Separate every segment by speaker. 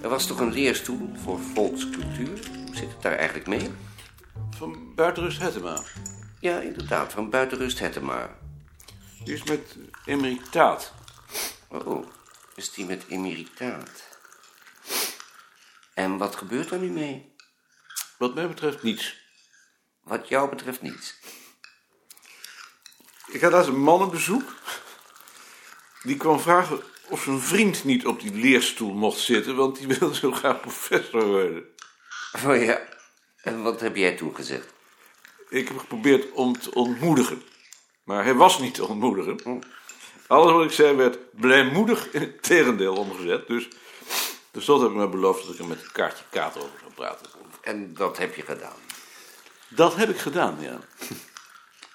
Speaker 1: was toch een leerstoel voor volkscultuur? Hoe zit het daar eigenlijk mee?
Speaker 2: Van Buitenrust Hettema.
Speaker 1: Ja, inderdaad, van buitenrust Hettema.
Speaker 2: Die is met emeritaat.
Speaker 1: Oh, oh, is die met emeritaat? En wat gebeurt er nu mee?
Speaker 2: Wat mij betreft niets.
Speaker 1: Wat jou betreft niets.
Speaker 2: Ik had laatst een man op bezoek. Die kwam vragen of zijn vriend niet op die leerstoel mocht zitten, want die wilde zo graag professor worden.
Speaker 1: Oh ja, en wat heb jij toen gezegd?
Speaker 2: Ik heb geprobeerd om te ontmoedigen. Maar hij was niet te ontmoedigen. Alles wat ik zei werd blijmoedig in het tegendeel omgezet. Dus, dus dat heb ik me beloofd dat ik er met een kaartje kaart over zou praten.
Speaker 1: En dat heb je gedaan.
Speaker 2: Dat heb ik gedaan, ja.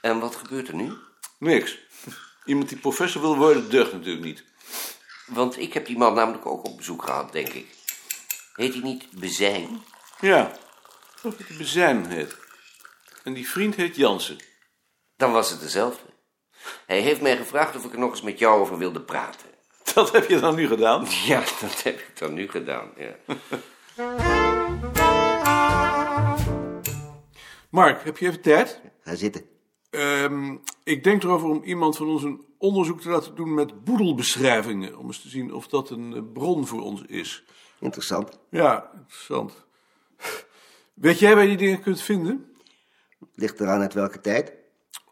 Speaker 1: En wat gebeurt er nu?
Speaker 2: Niks. Iemand die professor wil worden, deugt natuurlijk niet.
Speaker 1: Want ik heb die man namelijk ook op bezoek gehad, denk ik. Heet hij niet Bezijn?
Speaker 2: Ja, of het Bezijn heet. En die vriend heet Jansen.
Speaker 1: Dan was het dezelfde. Hij heeft mij gevraagd of ik er nog eens met jou over wilde praten.
Speaker 2: Dat heb je dan nu gedaan?
Speaker 1: Ja, dat heb ik dan nu gedaan, ja.
Speaker 2: Mark, heb je even tijd?
Speaker 3: Ga zitten.
Speaker 2: Ehm, ik denk erover om iemand van ons een onderzoek te laten doen met boedelbeschrijvingen. Om eens te zien of dat een eh, bron voor ons is.
Speaker 3: Interessant.
Speaker 2: Ja, interessant. Weet jij waar je die dingen kunt vinden?
Speaker 3: Ligt eraan uit welke tijd.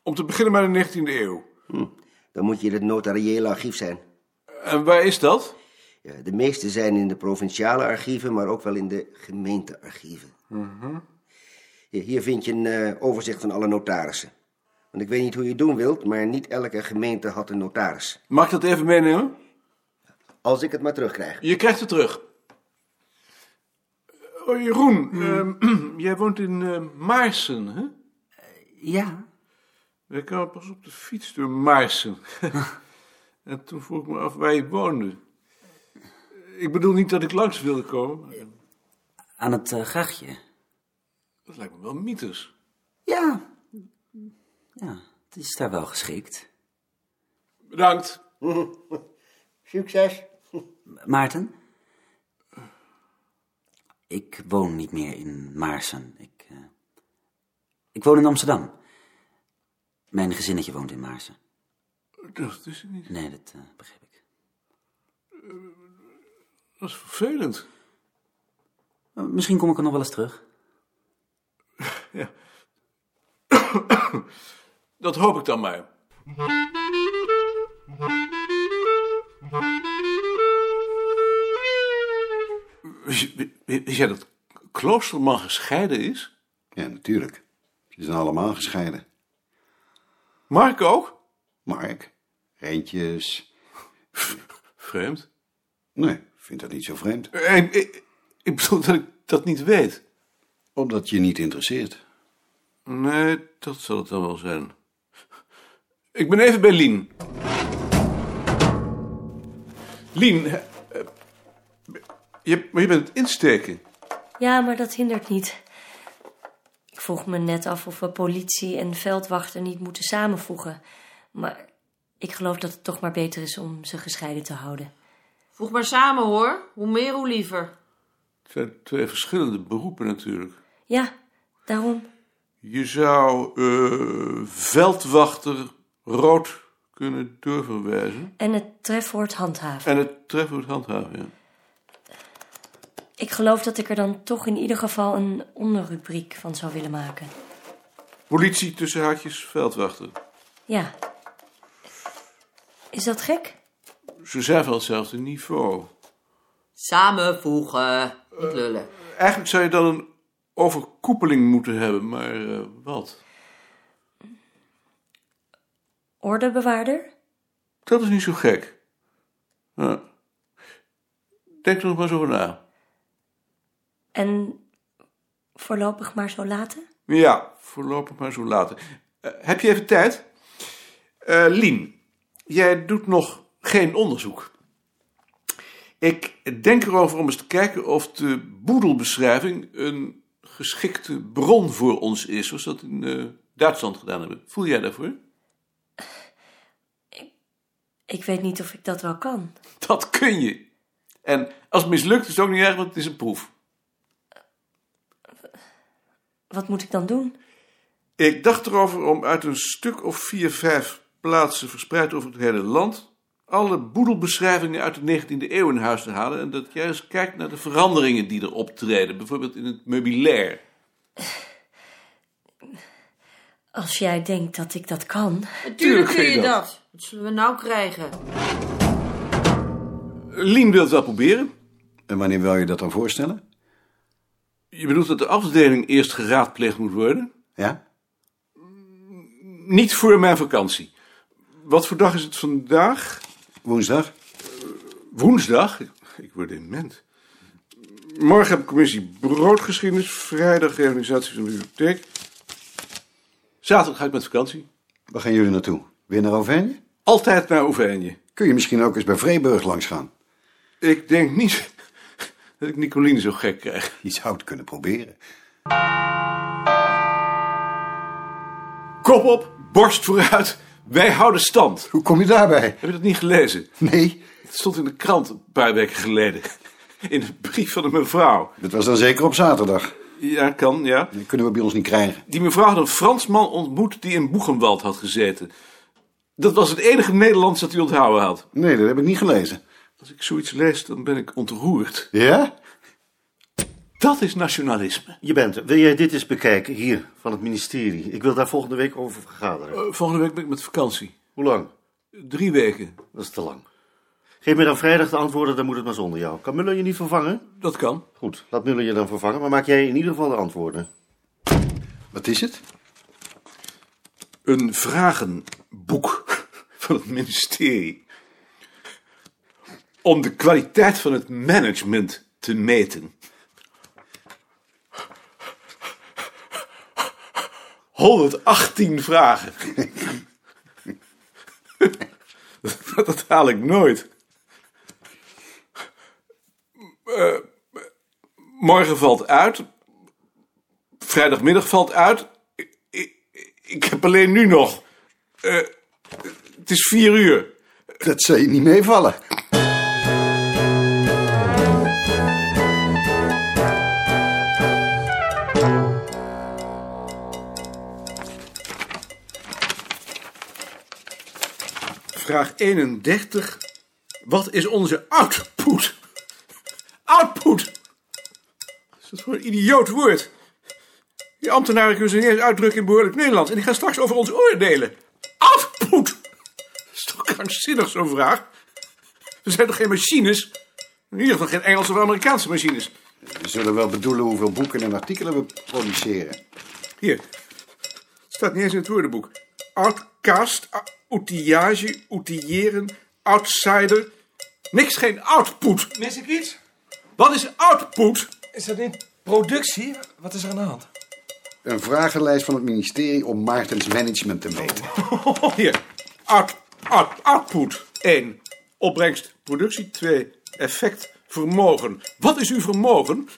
Speaker 2: Om te beginnen bij de 19e eeuw.
Speaker 3: Dan moet je in het notariële archief zijn.
Speaker 2: En waar is dat?
Speaker 3: Ja, de meeste zijn in de provinciale archieven, maar ook wel in de gemeentearchieven. Hier- Hier vind je een eh, overzicht van alle notarissen. Want ik weet niet hoe je het doen wilt, maar niet elke gemeente had een notaris.
Speaker 2: Mag ik dat even meenemen?
Speaker 3: Als ik het maar terugkrijg.
Speaker 2: Je krijgt het terug. Oh, Jeroen, ehm, jij woont in eh, Maarsen, hè?
Speaker 4: Ja,
Speaker 2: Wij kwamen pas op de fiets door Maarsen. en toen vroeg ik me af waar je woonde. Ik bedoel niet dat ik langs wilde komen. maar
Speaker 4: aan het eh, grachtje.
Speaker 2: Dat lijkt me wel mythes.
Speaker 4: Ja. Ja, het is daar wel geschikt.
Speaker 2: Bedankt.
Speaker 3: Succes.
Speaker 4: Maarten? Ik woon niet meer in Maarsen. Ik, eh, ik woon in Amsterdam. Mijn gezinnetje woont in Maarsen.
Speaker 2: Dat is het niet.
Speaker 4: Nee, dat eh, begrijp ik.
Speaker 2: Dat is vervelend.
Speaker 4: Eh, Misschien kom ik er nog wel eens terug.
Speaker 2: Dat hoop ik dan maar. Wist je- Wist jij dat Kloosterman gescheiden is?
Speaker 5: Ja, natuurlijk. Ze zijn allemaal gescheiden.
Speaker 2: Mark ook?
Speaker 5: Mark, Reentjes.
Speaker 2: Vreemd.
Speaker 5: Nee, vind dat niet zo vreemd.
Speaker 2: En, ik, ik bedoel dat ik dat niet weet.
Speaker 5: Omdat je niet interesseert.
Speaker 2: Nee, dat zal het dan wel zijn. Ik ben even bij Lien. Lien, hè, eh, je, maar je bent het insteken.
Speaker 6: Ja, maar dat hindert niet. Ik vroeg me net af of we politie en veldwachten niet moeten samenvoegen. Maar ik geloof dat het toch maar beter is om ze gescheiden te houden.
Speaker 7: Voeg maar samen hoor. Hoe meer, hoe liever.
Speaker 2: Het zijn twee verschillende beroepen natuurlijk.
Speaker 6: Ja, daarom.
Speaker 2: Je zou eh, veldwachter rood kunnen doorverwijzen.
Speaker 6: En het trefwoord handhaven.
Speaker 2: En het trefwoord handhaven, ja.
Speaker 6: Ik geloof dat ik er dan toch in ieder geval een onderrubriek van zou willen maken.
Speaker 2: Politie tussen haakjes, veldwachter.
Speaker 6: Ja. Is dat gek?
Speaker 2: Ze zijn van hetzelfde niveau.
Speaker 7: Samenvoegen. Niet lullen.
Speaker 2: Eigenlijk zou je dan een overkoepeling moeten hebben, maar eh, wat?
Speaker 6: Ordebewaarder?
Speaker 2: Dat is niet zo gek. Ja. Denk er nog maar eens over na.
Speaker 6: En voorlopig maar zo laten?
Speaker 2: Ja, voorlopig maar zo laten. Eh, heb je even tijd? Eh, Lien, jij doet nog geen onderzoek. Ik denk erover om eens te kijken of de boedelbeschrijving een geschikte bron voor ons is, zoals we dat in eh, Duitsland gedaan hebben. Voel jij daarvoor?
Speaker 6: Ik weet niet of ik dat wel kan.
Speaker 2: Dat kun je. En Als het mislukt is het ook niet erg, want het is een proef.
Speaker 6: Wat moet ik dan doen?
Speaker 2: Ik dacht erover om uit een stuk of vier, vijf plaatsen verspreid over het hele land... alle boedelbeschrijvingen uit de 19e eeuw in huis te halen... en dat jij eens kijkt naar de veranderingen die er optreden. Bijvoorbeeld in het meubilair.
Speaker 6: Als jij denkt dat ik dat kan.
Speaker 7: Natuurlijk kun
Speaker 2: kun je
Speaker 7: je
Speaker 2: dat.
Speaker 7: dat. Wat zullen we nou krijgen?
Speaker 2: Lien wil het wel proberen.
Speaker 5: En wanneer wil je dat dan voorstellen?
Speaker 2: Je bedoelt dat de afdeling eerst geraadpleegd moet worden?
Speaker 5: Ja?
Speaker 2: Niet voor mijn vakantie. Wat voor dag is het vandaag?
Speaker 5: Woensdag?
Speaker 2: Woensdag? Ik word dement. Morgen heb ik commissie broodgeschiedenis. Vrijdag organisatie van de bibliotheek. Zaterdag ga ik met vakantie.
Speaker 5: Waar gaan jullie naartoe? Weer naar Auvergne?
Speaker 2: Altijd naar Oeverje.
Speaker 5: Kun je misschien ook eens bij Vreeburg langs gaan?
Speaker 2: Ik denk niet dat ik Nicoline zo gek krijg.
Speaker 5: Je zou het kunnen proberen.
Speaker 2: Kop op, borst vooruit. Wij houden stand.
Speaker 5: Hoe kom je daarbij?
Speaker 2: Heb je dat niet gelezen?
Speaker 5: Nee,
Speaker 2: Het stond in de krant een paar weken geleden. In een brief van een mevrouw.
Speaker 5: dat was dan zeker op zaterdag.
Speaker 2: Ja, kan, ja.
Speaker 5: Dat kunnen we bij ons niet krijgen.
Speaker 2: Die mevrouw had een Fransman ontmoet die in Boegenwald had gezeten. Dat was het enige Nederlands dat hij onthouden had.
Speaker 5: Nee, dat heb ik niet gelezen.
Speaker 2: Als ik zoiets lees, dan ben ik ontroerd.
Speaker 5: Ja?
Speaker 2: Dat is nationalisme.
Speaker 8: Je bent er. Wil jij dit eens bekijken? Hier, van het ministerie. Ik wil daar volgende week over vergaderen.
Speaker 2: Eh, volgende week ben ik met vakantie.
Speaker 8: Hoe lang?
Speaker 2: Drie weken.
Speaker 8: Dat is te lang. Geef mij dan vrijdag de antwoorden, dan moet het maar zonder jou. Kan Muller je niet vervangen?
Speaker 2: Dat kan.
Speaker 8: Goed, laat Muller je dan vervangen, maar maak jij in ieder geval de antwoorden.
Speaker 5: Wat is het?
Speaker 2: Een vragenboek van het ministerie. Om de kwaliteit van het management te meten. ...118 vragen. dat, dat haal ik nooit. Eh, morgen valt uit. Vrijdagmiddag valt uit. Ik- ik- ik heb alleen nu nog. Eh, het is vier uur.
Speaker 5: Dat zou je niet meevallen.
Speaker 2: Vraag 31. Wat is onze output? Output! Wat is dat voor een idioot woord? Die ambtenaren kunnen ze niet eens uitdrukken in behoorlijk Nederlands. En die gaan straks over ons oordelen. Output! Dat is toch krankzinnig zo'n vraag? We zijn toch geen machines? In ieder geval geen Engelse of Amerikaanse machines.
Speaker 5: We zullen wel bedoelen hoeveel boeken en artikelen we produceren.
Speaker 2: Hier. Staat niet eens in het woordenboek. Outcast, ou- outillage, outilleren, outsider. Niks, geen output.
Speaker 9: Mis ik iets?
Speaker 2: Wat is output?
Speaker 9: Is dat niet productie? Wat is er aan de hand?
Speaker 5: Een vragenlijst van het ministerie om Maartens management te meten.
Speaker 2: Hier. Out, out, output. 1. Opbrengst, productie. 2. Effect, vermogen. Wat is uw vermogen?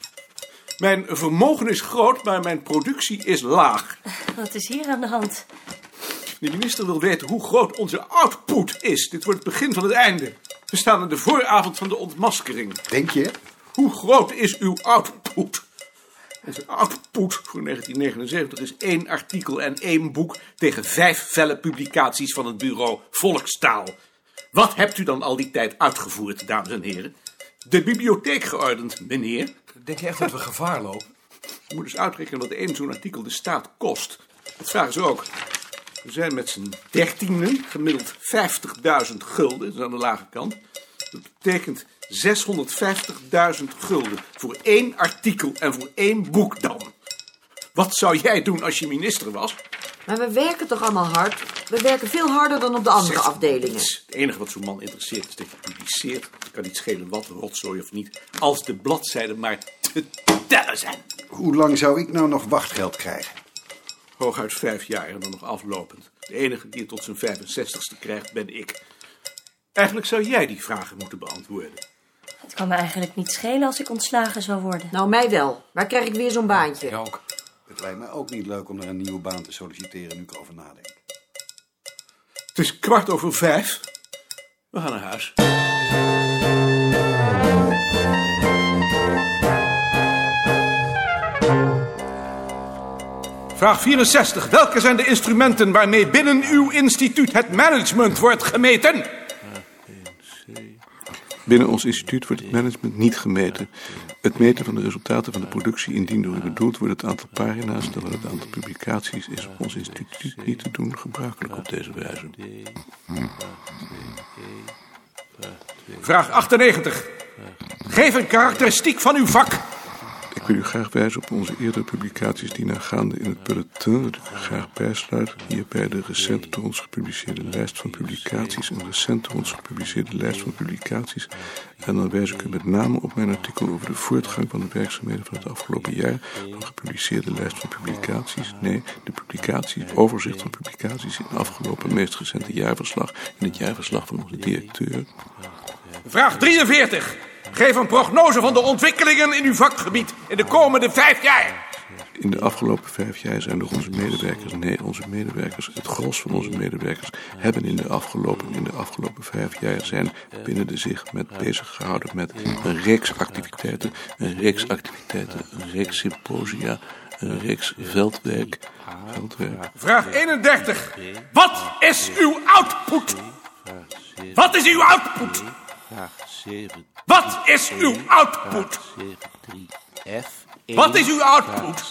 Speaker 2: Mijn vermogen is groot, maar mijn productie is laag.
Speaker 6: Wat is hier aan de hand?
Speaker 2: De minister wil weten hoe groot onze output is. Dit wordt het begin van het einde. We staan aan de vooravond van de ontmaskering.
Speaker 5: Denk je?
Speaker 2: Hoe groot is uw output? Onze output voor 1979 is één artikel en één boek tegen vijf felle publicaties van het bureau Volkstaal. Wat hebt u dan al die tijd uitgevoerd, dames en heren? De bibliotheek geordend, meneer.
Speaker 9: Denk je echt dat we gevaar lopen?
Speaker 2: Je moet eens uitrekenen wat één zo'n artikel de staat kost. Dat vragen ze ook. We zijn met z'n dertienen gemiddeld 50.000 gulden, dat is aan de lage kant. Dat betekent 650.000 gulden voor één artikel en voor één boek dan. Wat zou jij doen als je minister was?
Speaker 7: Maar we werken toch allemaal hard? We werken veel harder dan op de andere
Speaker 2: Zeg,
Speaker 7: afdelingen.
Speaker 2: niets. Het enige wat zo'n man interesseert is dat je publiceert. Het kan niet schelen wat, rotzooi of niet. Als de bladzijden maar te tellen zijn.
Speaker 5: Hoe lang zou ik nou nog wachtgeld krijgen?
Speaker 2: Hooguit vijf jaar en dan nog aflopend. De enige die het tot zijn 65ste krijgt, ben ik. Eigenlijk zou jij die vragen moeten beantwoorden.
Speaker 6: Het kan me eigenlijk niet schelen als ik ontslagen zou worden.
Speaker 7: Nou, mij wel. Waar krijg ik weer zo'n baantje?
Speaker 9: ook.
Speaker 5: Het lijkt mij ook niet leuk om naar een nieuwe baan te solliciteren nu ik erover nadenk.
Speaker 2: Het is kwart over vijf. We gaan naar huis.
Speaker 10: Vraag 64. Welke zijn de instrumenten waarmee binnen uw instituut het management wordt gemeten?
Speaker 2: Binnen ons instituut wordt het management niet gemeten. Het meten van de resultaten van de productie, indien door u bedoeld, wordt het aantal pagina's, terwijl het aantal publicaties is op ons instituut niet te doen gebruikelijk op deze wijze.
Speaker 10: Vraag 98. Geef een karakteristiek van uw vak.
Speaker 2: Ik wil u graag wijzen op onze eerdere publicaties die nagaande in het bulletin, dat ik er graag bijsluit, hierbij de recent door ons gepubliceerde lijst van publicaties, een recent door ons gepubliceerde lijst van publicaties. En dan wijs ik u met name op mijn artikel over de voortgang van de werkzaamheden van het afgelopen jaar, van gepubliceerde lijst van publicaties, nee, de publicaties, overzicht van publicaties in het afgelopen meest recente jaarverslag, in het jaarverslag van onze directeur.
Speaker 10: Vraag 43. Geef een prognose van de ontwikkelingen in uw vakgebied in de komende vijf jaar.
Speaker 2: In de afgelopen vijf jaar zijn door onze medewerkers, nee, onze medewerkers, het gros van onze medewerkers hebben in de afgelopen, in de afgelopen vijf jaar zijn binnen de zich met bezig gehouden met een reeks activiteiten, een reeks activiteiten, een reeks symposia, een reeks veldwerk, veldwerk.
Speaker 10: Vraag 31. Wat is uw output? Wat is uw output? Wat is uw output? Wat is uw output?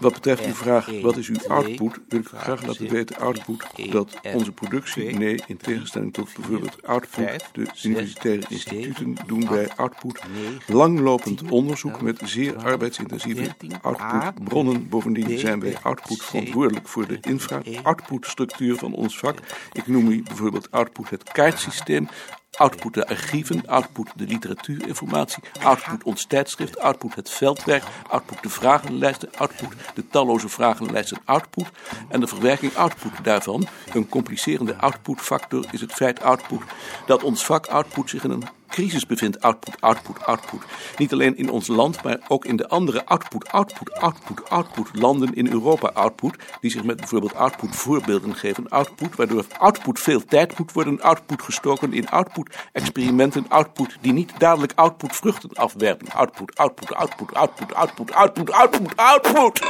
Speaker 2: Wat betreft uw vraag, wat is uw output, wil ik u graag laten weten output dat onze productie, nee, in tegenstelling tot bijvoorbeeld output, de universitaire instituten doen bij output langlopend onderzoek met zeer arbeidsintensieve outputbronnen. Bovendien zijn wij output verantwoordelijk voor de infra-outputstructuur van ons vak. Ik noem u bijvoorbeeld output het kaartsysteem, Output de archieven, output de literatuurinformatie, output ons tijdschrift, output het veldwerk, output de vragenlijsten, output de talloze vragenlijsten, output en de verwerking output daarvan. Een complicerende outputfactor is het feit output dat ons vak output zich in een crisis bevindt. Output, output, output. Niet alleen in ons land, maar ook in de andere output, output, output, output landen in Europa output, die zich met bijvoorbeeld output voorbeelden geven. Output, waardoor output veel tijd moet worden output gestoken in output experimenten, output die niet dadelijk output vruchten afwerpen. Output, output, output, output, output, output, output, output.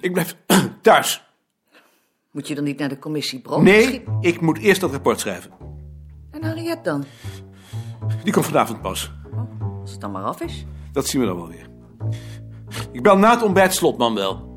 Speaker 10: Ik blijf thuis.
Speaker 7: Moet je dan niet naar de commissie brood?
Speaker 10: Nee, ik moet eerst dat rapport schrijven.
Speaker 7: En Harriet dan?
Speaker 10: Die komt vanavond pas.
Speaker 7: Als het dan maar af is.
Speaker 10: Dat zien we dan wel weer. Ik bel na het ontbijt slotman wel.